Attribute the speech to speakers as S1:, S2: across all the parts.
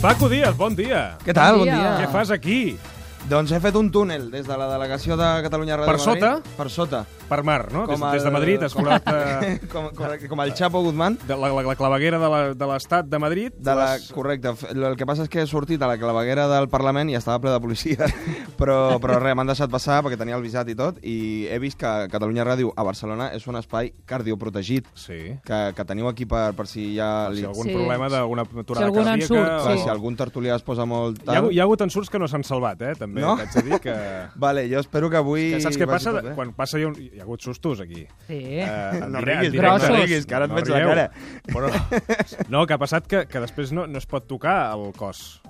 S1: Paco Díaz, bon dia.
S2: Què tal? Bon
S3: Bon
S2: dia.
S3: dia.
S1: Què fas aquí?
S2: Doncs he fet un túnel des de la delegació de Catalunya Ràdio
S1: Per sota?
S2: Madrid. Per sota.
S1: Per mar, no? Des, des de Madrid has
S2: com,
S1: colat eh,
S2: com, correcte, com el Chapo Guzmán.
S1: de la, la, la claveguera de la- de l'estat de, de Madrid.
S2: De la,
S1: Les-
S2: correcte. El que passa és que he sortit a la claveguera del Parlament i estava ple de policia. Però, però res, m'han deixat passar perquè tenia el visat i tot. I he vist que Catalunya Ràdio a Barcelona és un espai cardioprotegit
S1: Sí.
S2: que, que teniu aquí per, per si hi ha...
S1: Si hi ha algun
S3: Sí.
S1: problema d'alguna aturada
S3: Si algun en
S1: cardíaca...
S3: surt,
S2: Clar,
S3: sí.
S2: Si algun tertulià es posa molt...
S1: Hi ha,
S2: Tal...
S1: hi ha hagut ensurts que no s'han salvat, eh? També
S2: No?
S1: t'haig de dir que...
S2: Vale, jo espero que avui...
S1: que saps què
S2: vagi
S1: passa?
S2: tot bé.
S1: Quan passa hi ha, un, hi ha hagut sustos aquí.
S3: Sí.
S1: Eh,
S2: No
S1: en
S2: riguis,
S1: en directe.
S3: no
S2: riguis, que ara et veig la
S1: rigueu.
S2: cara.
S1: Bueno, no, que ha passat que, que després no, no es pot tocar el cos.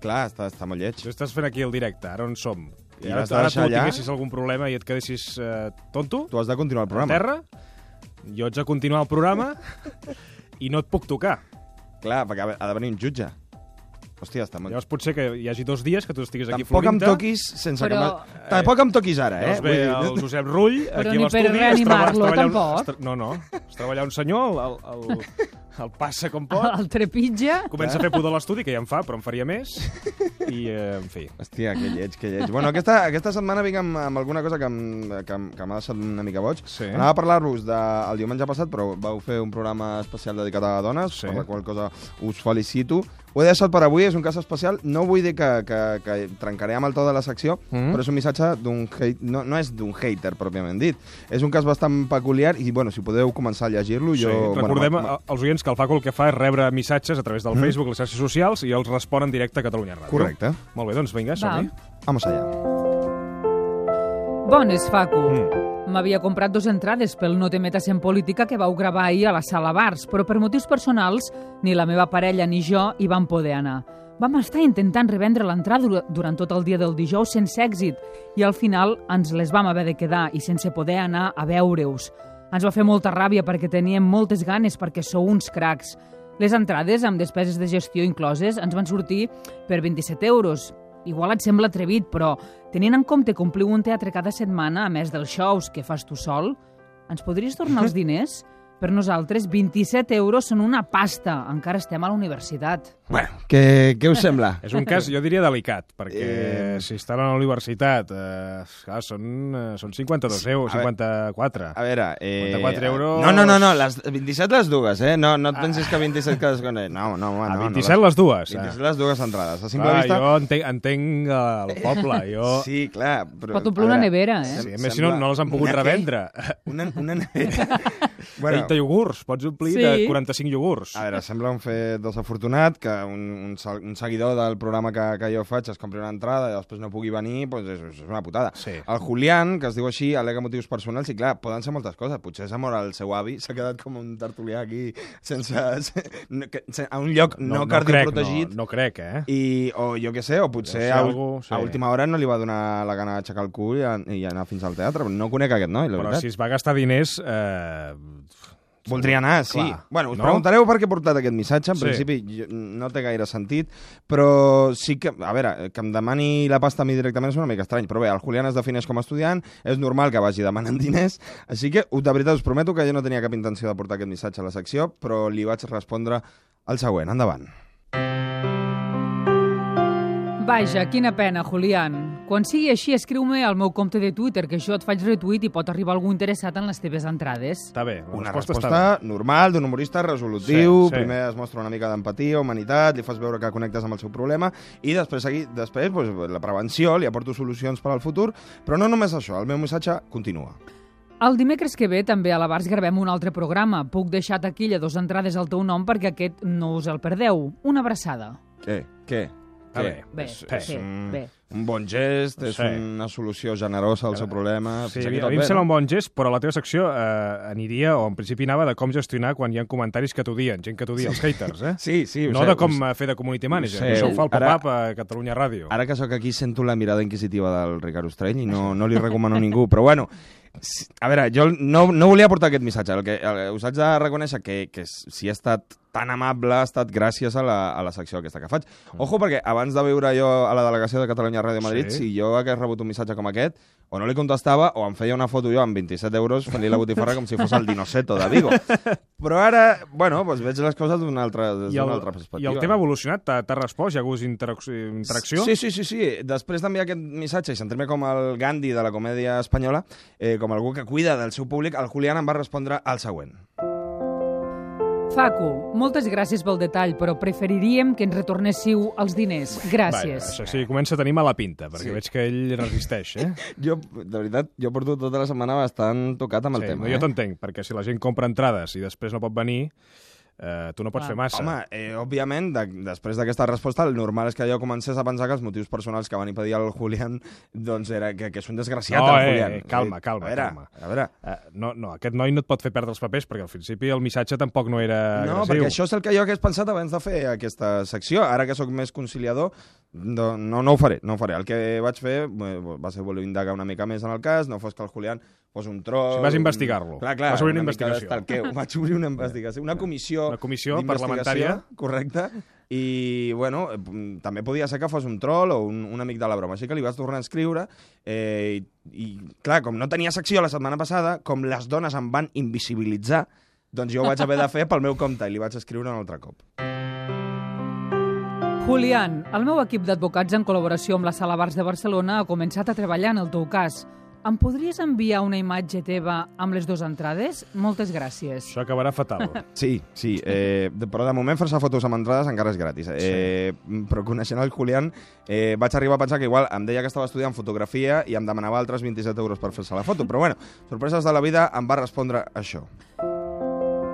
S2: Clar, està, està molt lleig.
S1: Tu estàs fent aquí el directe, ara on som. I
S2: I
S1: ara,
S2: l'has de
S1: ara tu
S2: deixar allà?
S1: tinguessis algun problema i et quedessis eh, tonto,
S2: Tu has de continuar
S1: a
S2: el programa.
S1: terra, jo haig de continuar el programa i no et puc tocar.
S2: Clar, perquè ha de- ha de venir un jutge. Hòstia, està molt...
S1: Llavors potser que hi hagi dos dies que tu estiguis aquí
S2: Tampoc em
S1: florint-te,
S2: toquis sense
S3: Però-
S2: que... me- Tampoc em toquis ara, eh?
S1: Llavors ve
S2: Vull dir-
S1: el Josep Rull,
S3: Però
S1: aquí
S3: ni
S1: a l'estudi...
S3: per
S1: es troba- es
S3: reanimar-lo,
S1: treballa un-
S3: tampoc.
S1: es tra- No, no, es treballa un senyor, el, el, el, el passa com pot,
S3: El trepitja.
S1: comença a fer pudor a l'estudi, que ja en fa, però en faria més, i, eh, en fi...
S2: Hòstia, que lleig, que lleig. Bueno, aquesta, aquesta setmana vinc amb, amb alguna cosa que em- que em- que m'ha deixat una mica boig.
S1: Sí.
S2: Anava a parlar-vos del diumenge passat, però vau fer un programa especial dedicat a dones,
S1: Sí.
S2: per la qual cosa us felicito. Ho he deixat per avui, és un cas especial. No vull dir que, que, que trencaré amb el to de la secció,
S1: Mhm.
S2: però és un missatge d'un hate... No, no és d'un hater, pròpiament dit. És un cas bastant peculiar i, bueno, si podeu començar a llegir-lo,
S1: Sí,
S2: jo...
S1: recordem
S2: bueno, ma- ma-
S1: a- als oients que el Paco el que fa és rebre missatges a través del Facebook, les xarxes socials, i els respon en directe a Catalunya Ràdio.
S2: Correcte.
S1: Molt bé, doncs vinga, som-hi.
S2: Vamos allá.
S3: Bones, Facu.
S1: Mm.
S3: M'havia comprat dos entrades pel No te metes en política que vau gravar ahir a la sala Bars, però per motius personals ni la meva parella ni jo hi vam poder anar. Vam estar intentant revendre l'entrada dura- durant tot el dia del dijous sense èxit i al final ens les vam haver de quedar i sense poder anar a veure-us. Ens va fer molta ràbia perquè teníem moltes ganes perquè sou uns cracs. Les entrades, amb despeses de gestió incloses, ens van sortir per 27 euros. Igual et sembla atrevit, però tenint en compte que ompliu un teatre cada setmana, a més dels shows que fas tu sol, ens podries tornar els diners? Per nosaltres, 27 euros són una pasta. Encara estem a la universitat.
S2: Bueno, què, què us sembla?
S1: És un cas, jo diria, delicat, perquè eh...
S2: Eh.
S1: si estan a la universitat, eh, clar, són, eh, són 52 euros,
S2: a veure.
S1: 54.
S2: A veure... Eh...
S1: 54 euros. Ah.
S2: No, no, no, no, les 27 les dues, eh? No, no et pensis que 27 cadascuna. No, no, home,
S1: A
S2: no.
S1: 27
S2: no,
S1: les dues. eh.
S2: 27 les dues entrades. A simple
S1: Clar,
S2: vista...
S1: jo entenc, entenc eh, el poble. Jo... Sí.
S2: Sí, clar. Però,
S3: Pot omplir una
S2: a veure,
S3: nevera, eh?
S1: Sí,
S2: sem-
S1: a més, si no,
S2: sembla
S1: no les han pogut
S2: una
S1: revendre.
S2: què? Una, una nevera.
S1: Bueno.
S2: bueno,
S1: 30
S2: Ah,
S1: iogurts, pots omplir
S3: Sí.
S1: sí. de 45 iogurts.
S2: a veure, sembla un fet desafortunat que un, un, sal- un seguidor del programa que, que jo faig es compri una entrada i després no pugui venir, doncs és, és una putada.
S1: Sí.
S2: El Julián, que es diu així, al·lega motius personals i, clar, poden ser moltes coses. Potser és amor al seu avi, s'ha quedat com un tertulià aquí, sense, se- no, que, se, a un lloc no, no cardioprotegit.
S1: Crec, no, no crec, eh?
S2: I, o jo què sé, o potser
S1: Deu ser
S2: a,
S1: algú,
S2: algú,
S1: sí.
S2: a última hora no li va donar la gana d'aixecar el cul i, a, i anar fins al teatre. No conec aquest noi, la
S1: Però
S2: veritat.
S1: si es va gastar diners... Eh...
S2: Voldria anar, sí.
S1: Clar.
S2: Bueno, us
S1: No?
S2: no? preguntareu per què he portat aquest missatge. En
S1: Sí.
S2: sí. principi jo- no té gaire sentit, però sí que... A veure, eh, que em demani la pasta a mi directament és una mica estrany, però bé, el Julián es defineix com a estudiant, és normal que vagi demanant diners, així que u- de veritat us prometo que jo no tenia cap intenció de portar aquest missatge a la secció, però li vaig respondre el següent. Endavant.
S3: Vaja, quina pena, Julián. Quan sigui així, escriu-me al meu compte de Twitter, que jo et faig retuit i pot arribar algú interessat en les teves entrades.
S1: Està bé, la
S2: Una
S1: resposta,
S2: resposta,
S1: està bé.
S2: normal, d'un humorista resolutiu,
S1: Sí,
S2: sí,
S1: sí.
S2: sí. primer es mostra una mica d'empatia, humanitat, li fas veure que connectes amb el seu problema i després, segui, després doncs, la prevenció, li aporto solucions per al futur, però no només això, el meu missatge continua.
S3: El dimecres que ve també a la Bars gravem un altre programa. Puc deixar taquilla dos entrades al teu nom perquè aquest no us el perdeu. Una abraçada.
S2: Què? Què?
S1: A veure,
S3: Bé,
S2: és,
S1: bé,
S2: és un,
S3: bé.
S2: un bon gest,
S1: No
S2: és
S1: sé.
S2: una solució generosa al seu problema...
S1: Sí,
S2: fins
S1: a mi,
S2: aquí
S1: a
S2: tot
S1: mi em
S2: bé,
S1: sembla
S2: no?
S1: un bon gest, però la teva secció eh, aniria, o en principi anava, de com gestionar quan hi ha comentaris que t'odien, gent que t'odia, els haters, eh?
S2: Sí, sí, ho
S1: no
S2: sé,
S1: de
S2: ho
S1: com
S2: sé.
S1: eh, fer de community manager,
S2: Ho
S1: que
S2: sé.
S1: això ho fa el
S2: Ara-
S1: pop-up a Catalunya Ràdio.
S2: Ara que sóc aquí sento la mirada inquisitiva del Ricard Ostrell i no, no li recomano a ningú, però bueno... si- A veure, jo no, no volia portar aquest missatge. El que, el, us haig de reconèixer que, que si he estat tan
S1: Mm.
S2: amable ha estat gràcies a la, a la secció aquesta que faig. Ojo, perquè abans de viure jo a la delegació de Catalunya a Ràdio Madrid,
S1: Sí.
S2: si jo hagués rebut un missatge com aquest, o no li contestava, o em feia una foto jo amb 27 euros fent-li la botifarra com si fos el Dinoseto de Vigo. Però ara, bueno, doncs veig les coses d'una altra, des d'una altra perspectiva.
S1: I el tema ha evolucionat, t'ha t'ha respost, hi ha hagut interac interacció?
S2: Sí, sí, sí, sí. Després d'enviar aquest missatge i sentir-me com el Gandhi de la comèdia espanyola, eh, com algú que cuida del seu públic, el Julián em va respondre el següent.
S3: Facu, moltes gràcies pel detall, però preferiríem que ens retornéssiu els diners. Gràcies.
S1: Vaja, això sí, comença a tenir mala pinta, perquè
S2: Sí.
S1: sí. veig que ell resisteix, eh?
S2: Jo, de veritat, jo porto tota la setmana bastant tocat amb
S1: sí,
S2: el tema.
S1: no, jo
S2: eh?
S1: t'entenc, perquè si la gent compra entrades i després no pot venir, eh, tu no pots
S3: Clar.
S1: fer massa.
S2: Home, eh, òbviament, de, després d'aquesta resposta, el normal és que jo comencés a pensar que els motius personals que van impedir al Julián doncs era que, que és un desgraciat,
S1: No,
S2: el
S1: eh,
S2: Julián.
S1: eh, calma, calma,
S2: a veure,
S1: calma.
S2: A veure,
S1: Eh, no, no, aquest noi no et pot fer perdre els papers, perquè al principi el missatge tampoc no era
S2: no,
S1: agressiu.
S2: perquè això és el que jo hagués pensat abans de fer aquesta secció. Ara que sóc més conciliador, no, no, no ho faré, no ho faré. El que vaig fer eh, va ser voler indagar una mica més en el cas, no fos que el Julián fos un tro...
S1: O sigui, vas investigar-lo.
S2: Clar, clar,
S1: Vas obrir una
S2: una mica
S1: investigació.
S2: d'estalqueu. Vaig obrir una investigació, una comissió
S1: Una comissió
S2: d'investigació,
S1: parlamentària.
S2: Correcte. I, bueno, eh, mm, també podia ser que fos un troll o un, un amic de la broma. Així que li vaig tornar a escriure eh, i, i, clar, com no tenia secció la setmana passada, com les dones em van invisibilitzar, doncs jo ho vaig haver de fer pel meu compte i li vaig escriure un altre cop.
S3: Julián, el meu equip d'advocats en col·laboració amb la Sala Bars de Barcelona ha començat a treballar en el teu cas. Em podries enviar una imatge teva amb les dues entrades? Moltes gràcies.
S1: Això acabarà fatal.
S2: Sí, sí, eh, de- però de moment fer-se fotos amb entrades encara és gratis. Eh, Però coneixent el Julián, eh, vaig arribar a pensar que igual em deia que estava estudiant fotografia i em demanava altres 27 euros per fer-se la foto. Però bueno, sorpreses de la vida, em va respondre això.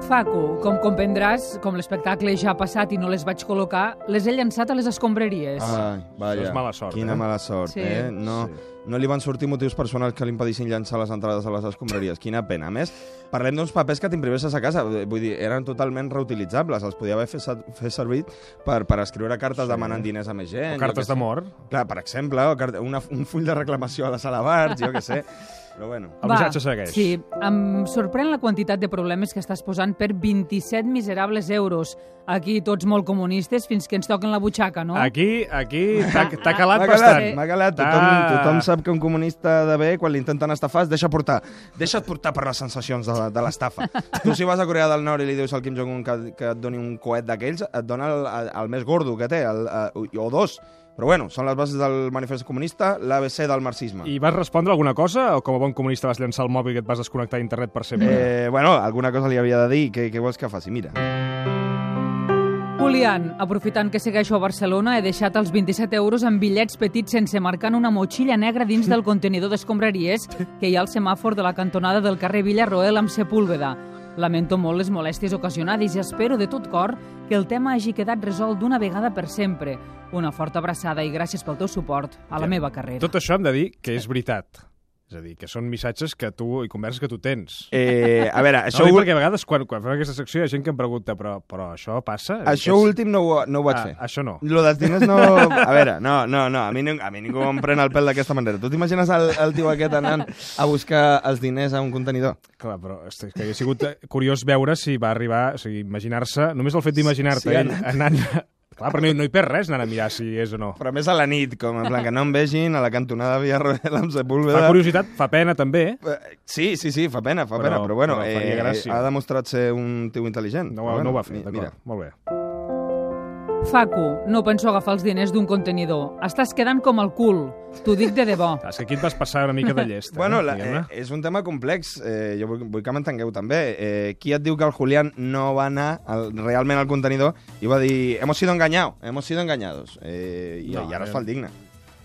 S3: Facu, com comprendràs, com l'espectacle ja ha passat i no les vaig col·locar, les he llançat a les escombraries.
S1: Ah,
S2: Ai, vaja.
S1: Això és mala sort,
S2: Quina
S1: eh?
S2: mala sort,
S3: Sí.
S2: eh? No,
S1: Sí.
S2: no li van sortir motius personals que li impedissin llançar les entrades a les escombraries. Quina pena. A més, parlem d'uns papers que t'imprimeses a casa. Eh, Vull dir, eren totalment reutilitzables. Els podia haver fet, ser- fer servir per, per escriure cartes sí. demanant diners a més gent.
S1: O
S2: jo què
S1: cartes
S2: sé.
S1: d'amor.
S2: Clar, per exemple, o carte- una, un full de reclamació a la sala Barts, jo què sé. Però bueno,
S1: El missatge segueix.
S3: Sí, em sorprèn la quantitat de problemes que estàs posant per 27 miserables euros. Aquí tots molt comunistes fins que ens toquen la butxaca, no?
S1: Aquí, aquí, t'ha t'ha calat
S2: m'ha
S1: bastant. Ah,
S2: calat, eh? m'ha calat. Tothom,
S1: T'ha-
S2: tothom sap que un comunista de bé, quan l'intenten estafar, es deixa portar. Deixa't portar per les sensacions de, de l'estafa. tu si vas a Corea del Nord i li dius al Kim Jong-un que, que et doni un coet d'aquells, et dona el, el més gordo que té, el, eh, o dos. Però bueno, són les bases del manifest comunista, l'ABC del marxisme.
S1: I vas respondre alguna cosa o com a bon comunista vas llançar el mòbil i et vas desconnectar d'internet per sempre?
S2: Eh, bueno, alguna cosa li havia de dir, què, què vols que faci? Mira.
S3: Julián, aprofitant que segueixo a Barcelona, he deixat els 27 euros en bitllets petits sense marcar en una motxilla negra dins del contenidor d'escombraries que hi ha al semàfor de la cantonada del carrer Villarroel amb Sepúlveda. Lamento molt les molèsties ocasionades i espero de tot cor que el tema hagi quedat resolt d'una vegada per sempre. Una forta abraçada i gràcies pel teu suport a la
S1: Ja.
S3: meva carrera.
S1: Tot això hem de dir que és veritat. És a dir, que són missatges que tu i converses que tu tens.
S2: Eh, a veure,
S1: Això
S2: això...
S1: no, ho dic
S2: ul-
S1: perquè a vegades quan, quan fem aquesta secció hi ha gent que em pregunta però, però això passa?
S2: Això
S1: És-
S2: últim no ho, no ho vaig
S1: ah,
S2: fer.
S1: Això no.
S2: Lo dels diners no... A veure, no, no, no, a mi, ning- a mi ningú em pren el pèl d'aquesta manera. Tu t'imagines el, el tio aquest anant a buscar els diners a un contenidor?
S1: Clar, però és que hauria sigut eh, curiós veure si va arribar, o sigui, imaginar-se, només el fet d'imaginar-te
S2: Sí, ha
S1: ell anant... Clar, però no, hi- no hi perds res anant a mirar si hi és o no.
S2: Però més a la nit, com en plan que no em vegin a la cantonada de Villarroel amb Sepúlveda.
S1: Fa curiositat, fa pena també,
S2: Eh, Sí, sí, sí, fa pena, fa
S1: Però-
S2: pena, però bueno,
S1: però faria
S2: eh,
S1: gràcia.
S2: ha demostrat ser un tio intel·ligent.
S1: no,
S2: Però
S1: ho-
S2: Ah, bueno,
S1: no ho va fer,
S2: mi- mira.
S1: d'acord, molt bé.
S3: Facu, no penso agafar els diners d'un contenidor. Estàs quedant com el cul. T'ho dic de debò.
S1: Clar, És que aquí et vas passar una mica de llest, eh?
S2: Bueno, la,
S1: diguem-ne.
S2: eh, és un tema complex, eh, jo vull, vull que m'entengueu també. Eh, qui et diu que el Julián no va anar al, realment al contenidor i va dir hemos sido engañados, hemos sido engañados, eh, i,
S1: No,
S2: i ara es
S1: eh,
S2: fa el digne.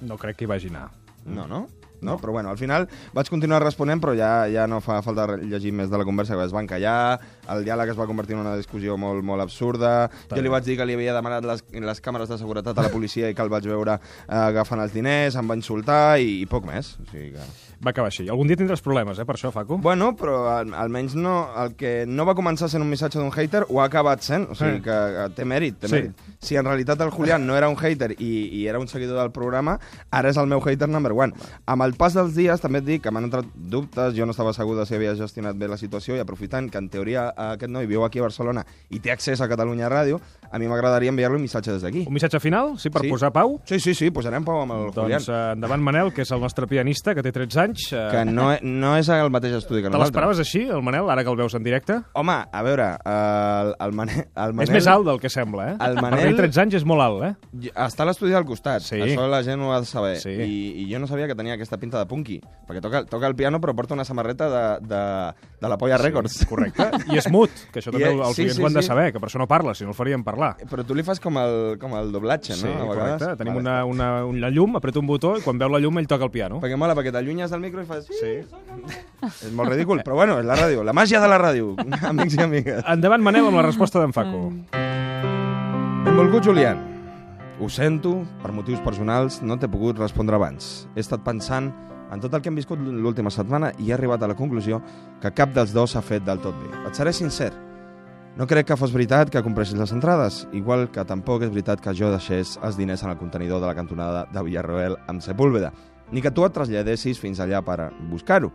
S1: No crec que hi vagi anar.
S2: No, no? No, però bueno, al final vaig continuar responent, però ja ja no fa falta re- llegir més de la conversa, es van callar, el diàleg es va convertir en una discussió molt, molt absurda, jo
S1: bé.
S2: li vaig dir que li havia demanat les, les càmeres de seguretat a la policia i que el vaig veure eh, agafant els diners, em va insultar i, i poc més. O sigui que...
S1: Va acabar així. Algun dia tindràs problemes, eh, per això, Facu?
S2: Bueno, però al, almenys no, el que no va començar sent un missatge d'un hater ho ha acabat sent, o sigui
S1: Sí.
S2: que eh, té mèrit, té
S1: Sí.
S2: mèrit. Si en realitat el Julián no era un hater i, i era un seguidor del programa, ara és el meu hater number one. Amb el Al pas dels dies també et dic que m'han entrat dubtes, jo no estava segur de si havia gestionat bé la situació i aprofitant que en teoria eh, aquest noi viu aquí a Barcelona i té accés a Catalunya Ràdio, a mi m'agradaria enviar-li un missatge des d'aquí.
S1: Un missatge final, sí, per
S2: Sí.
S1: posar pau?
S2: Sí, sí, sí, posarem pau amb el Julián.
S1: Doncs eh, endavant Manel, que és el nostre pianista, que té 13 anys. Eh,
S2: Que no, e- no és el mateix estudi que
S1: Te
S2: nosaltres.
S1: l'esperaves així, el Manel, ara que el veus en directe?
S2: Home, a veure, el, el, Manel, el Manel...
S1: És més alt del que sembla, eh?
S2: El Manel-
S1: Per tenir 13 anys és molt alt, eh?
S2: Està a l'estudi al costat,
S1: Sí.
S2: sí. això la gent ho ha de saber.
S1: Sí.
S2: I, I jo no sabia que tenia aquesta pinta de punky, perquè toca, toca el piano però porta una samarreta de, de, de la Polla Records.
S1: Correcte. I és mut, que això
S2: I
S1: també
S2: és-
S1: els
S2: sí,
S1: clients
S2: sí,
S1: ho han de
S2: sí.
S1: saber, que per això no parla, si no el farien parlar.
S2: Però tu li fas com el, com el doblatge,
S1: Sí,
S2: no? A vegades.
S1: correcte. Tenim una, una, una llum, apreta un botó i quan veu la llum ell toca el piano.
S2: Perquè mola, perquè t'allunyes del micro i fas... Sí.
S1: Sí.
S2: És molt ridícul, però bueno, és la ràdio, la màgia de la ràdio, amics i amigues.
S1: Endavant, Manel, amb la resposta d'en Faco.
S3: Mm.
S2: Benvolgut, Julián. Ho sento, per motius personals no t'he pogut respondre abans. He estat pensant en tot el que hem viscut l'última setmana i he arribat a la conclusió que cap dels dos s'ha fet del tot bé. Et seré sincer, no crec que fos veritat que compressis les entrades, igual que tampoc és veritat que jo deixés els diners en el contenidor de la cantonada de Villarroel amb Sepúlveda, ni que tu et traslladessis fins allà per buscar-ho,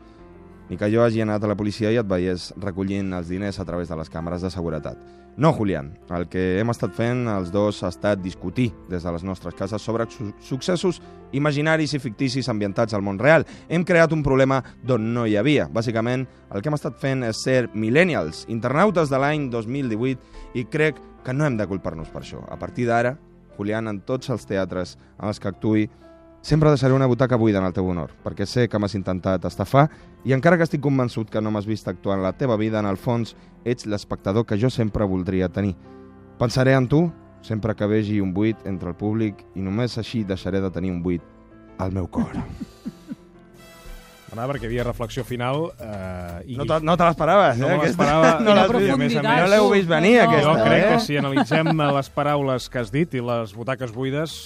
S2: ni que jo hagi anat a la policia i et veiés recollint els diners a través de les càmeres de seguretat. No, Julián, el que hem estat fent els dos ha estat discutir des de les nostres cases sobre su successos imaginaris i ficticis ambientats al món real. Hem creat un problema d'on no hi havia. Bàsicament, el que hem estat fent és ser millennials, internautes de l'any 2018, i crec que no hem de culpar-nos per això. A partir d'ara, Julián, en tots els teatres en els que actuï, sempre deixaré una butaca buida en el teu honor, perquè sé que m'has intentat estafar i encara que estic convençut que no m'has vist actuar en la teva vida, en el fons ets l'espectador que jo sempre voldria tenir. Pensaré en tu sempre que vegi un buit entre el públic i només així deixaré de tenir un buit al meu cor.
S1: Anava perquè hi havia reflexió final eh, i...
S2: No te, no te l'esperaves,
S1: No
S2: eh?
S1: me
S2: aquesta?
S1: l'esperava. I
S2: No
S1: la
S2: l'has vist-
S1: profunditat,
S2: no l'heu vist venir,
S3: no.
S1: Jo
S2: aquesta,
S1: crec
S2: eh?
S1: que si analitzem les paraules que has dit i les butaques buides,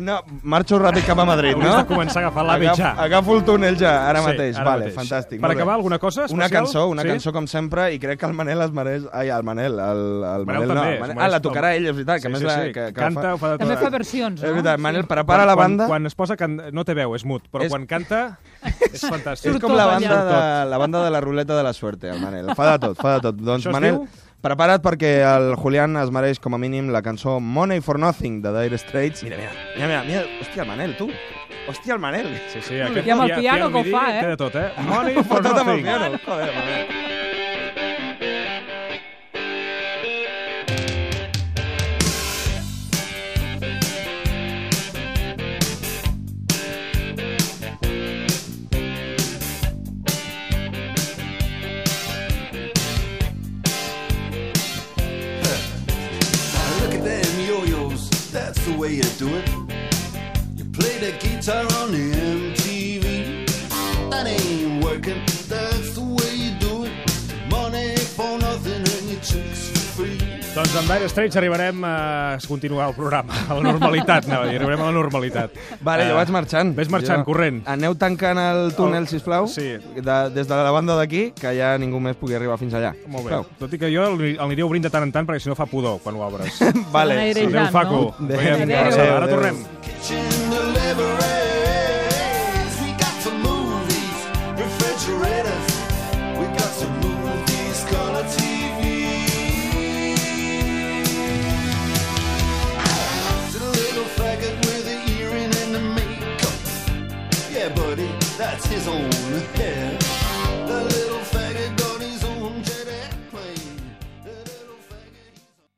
S2: No, marxo ràpid cap a Madrid,
S1: hauries
S2: no?
S1: de començar a agafar l'AVE
S2: Agaf-
S1: ja.
S2: Agafo el túnel ja, ara
S1: Sí,
S2: mateix.
S1: ara
S2: vale,
S1: mateix.
S2: fantàstic.
S1: Per
S2: molt bé.
S1: acabar, alguna cosa
S2: Una
S1: especial?
S2: cançó, una
S1: Sí?
S2: cançó com sempre, i crec que el Manel es mereix... Ai, el Manel, el, el
S1: Manel
S2: Manel, no.
S1: també,
S2: el
S1: es
S2: Manel...
S1: mereix
S2: Ah, la
S1: el-
S2: tocarà ell, és veritat.
S1: Sí,
S2: Que a més
S1: sí,
S2: la,
S1: sí.
S2: Que, que
S1: Canta, ho fa de tot.
S3: També fa versions,
S2: És
S3: no?
S2: veritat, Manel, prepara
S1: quan,
S2: la banda.
S1: Quan, quan es posa can... no té veu, és mut, però
S2: És-
S1: és... quan canta és fantàstic.
S2: És
S3: Surt
S2: com la
S3: tot
S2: banda,
S1: Surt tot.
S2: de, la banda de la ruleta de la suerte, el Manel. Fa de tot, fa de tot. Doncs,
S1: Això es
S2: Manel,
S1: diu?
S2: prepara't perquè el Julián es mereix com a mínim la cançó Money for Nothing de Dire Straits. Mira, mira, mira, mira, mira. Hòstia, el Manel, tu. Hòstia, el Manel.
S1: Sí, sí, aquest,
S3: I amb el
S1: ja-
S3: piano
S1: ja
S3: que ho
S1: vull
S3: fa,
S1: dir,
S3: eh?
S1: Té de tot, eh? Money
S2: Fa
S1: for
S2: tot amb el
S1: nothing.
S2: piano. Joder, Manel.
S4: Look at them yo-yos, that's the way you do it. You play the guitar on the MTV. That ain't working, that's the way you do it. Money for nothing and your chicks for free.
S1: Doncs amb Dire Straits arribarem a continuar el programa, a la normalitat, no, i arribarem a la normalitat.
S2: Vale,
S1: Eh,
S2: jo vaig marxant.
S1: Ves marxant,
S2: jo...
S1: corrent.
S2: Aneu tancant el túnel,
S1: El-
S2: sisplau,
S1: sí.
S2: de, des de la banda d'aquí, que ja ningú més pugui arribar fins allà.
S1: Molt bé.
S2: sisplau.
S1: Tot i que jo el el aniré obrint de tant en tant perquè si no fa pudor quan ho obres.
S2: Vale.
S3: Aneu
S2: sí.
S1: Adéu,
S3: Ja, no?
S1: Faco.
S2: Adéu.
S1: Veiem què
S3: Adéu.
S1: passa. Ara
S2: Adéu.
S1: tornem.
S4: Kitchen deliveries, we got some movies, refrigerators, we got some movies, color TV. The little faggot with the earring and the makeup. Yeah, buddy, that's his own hair.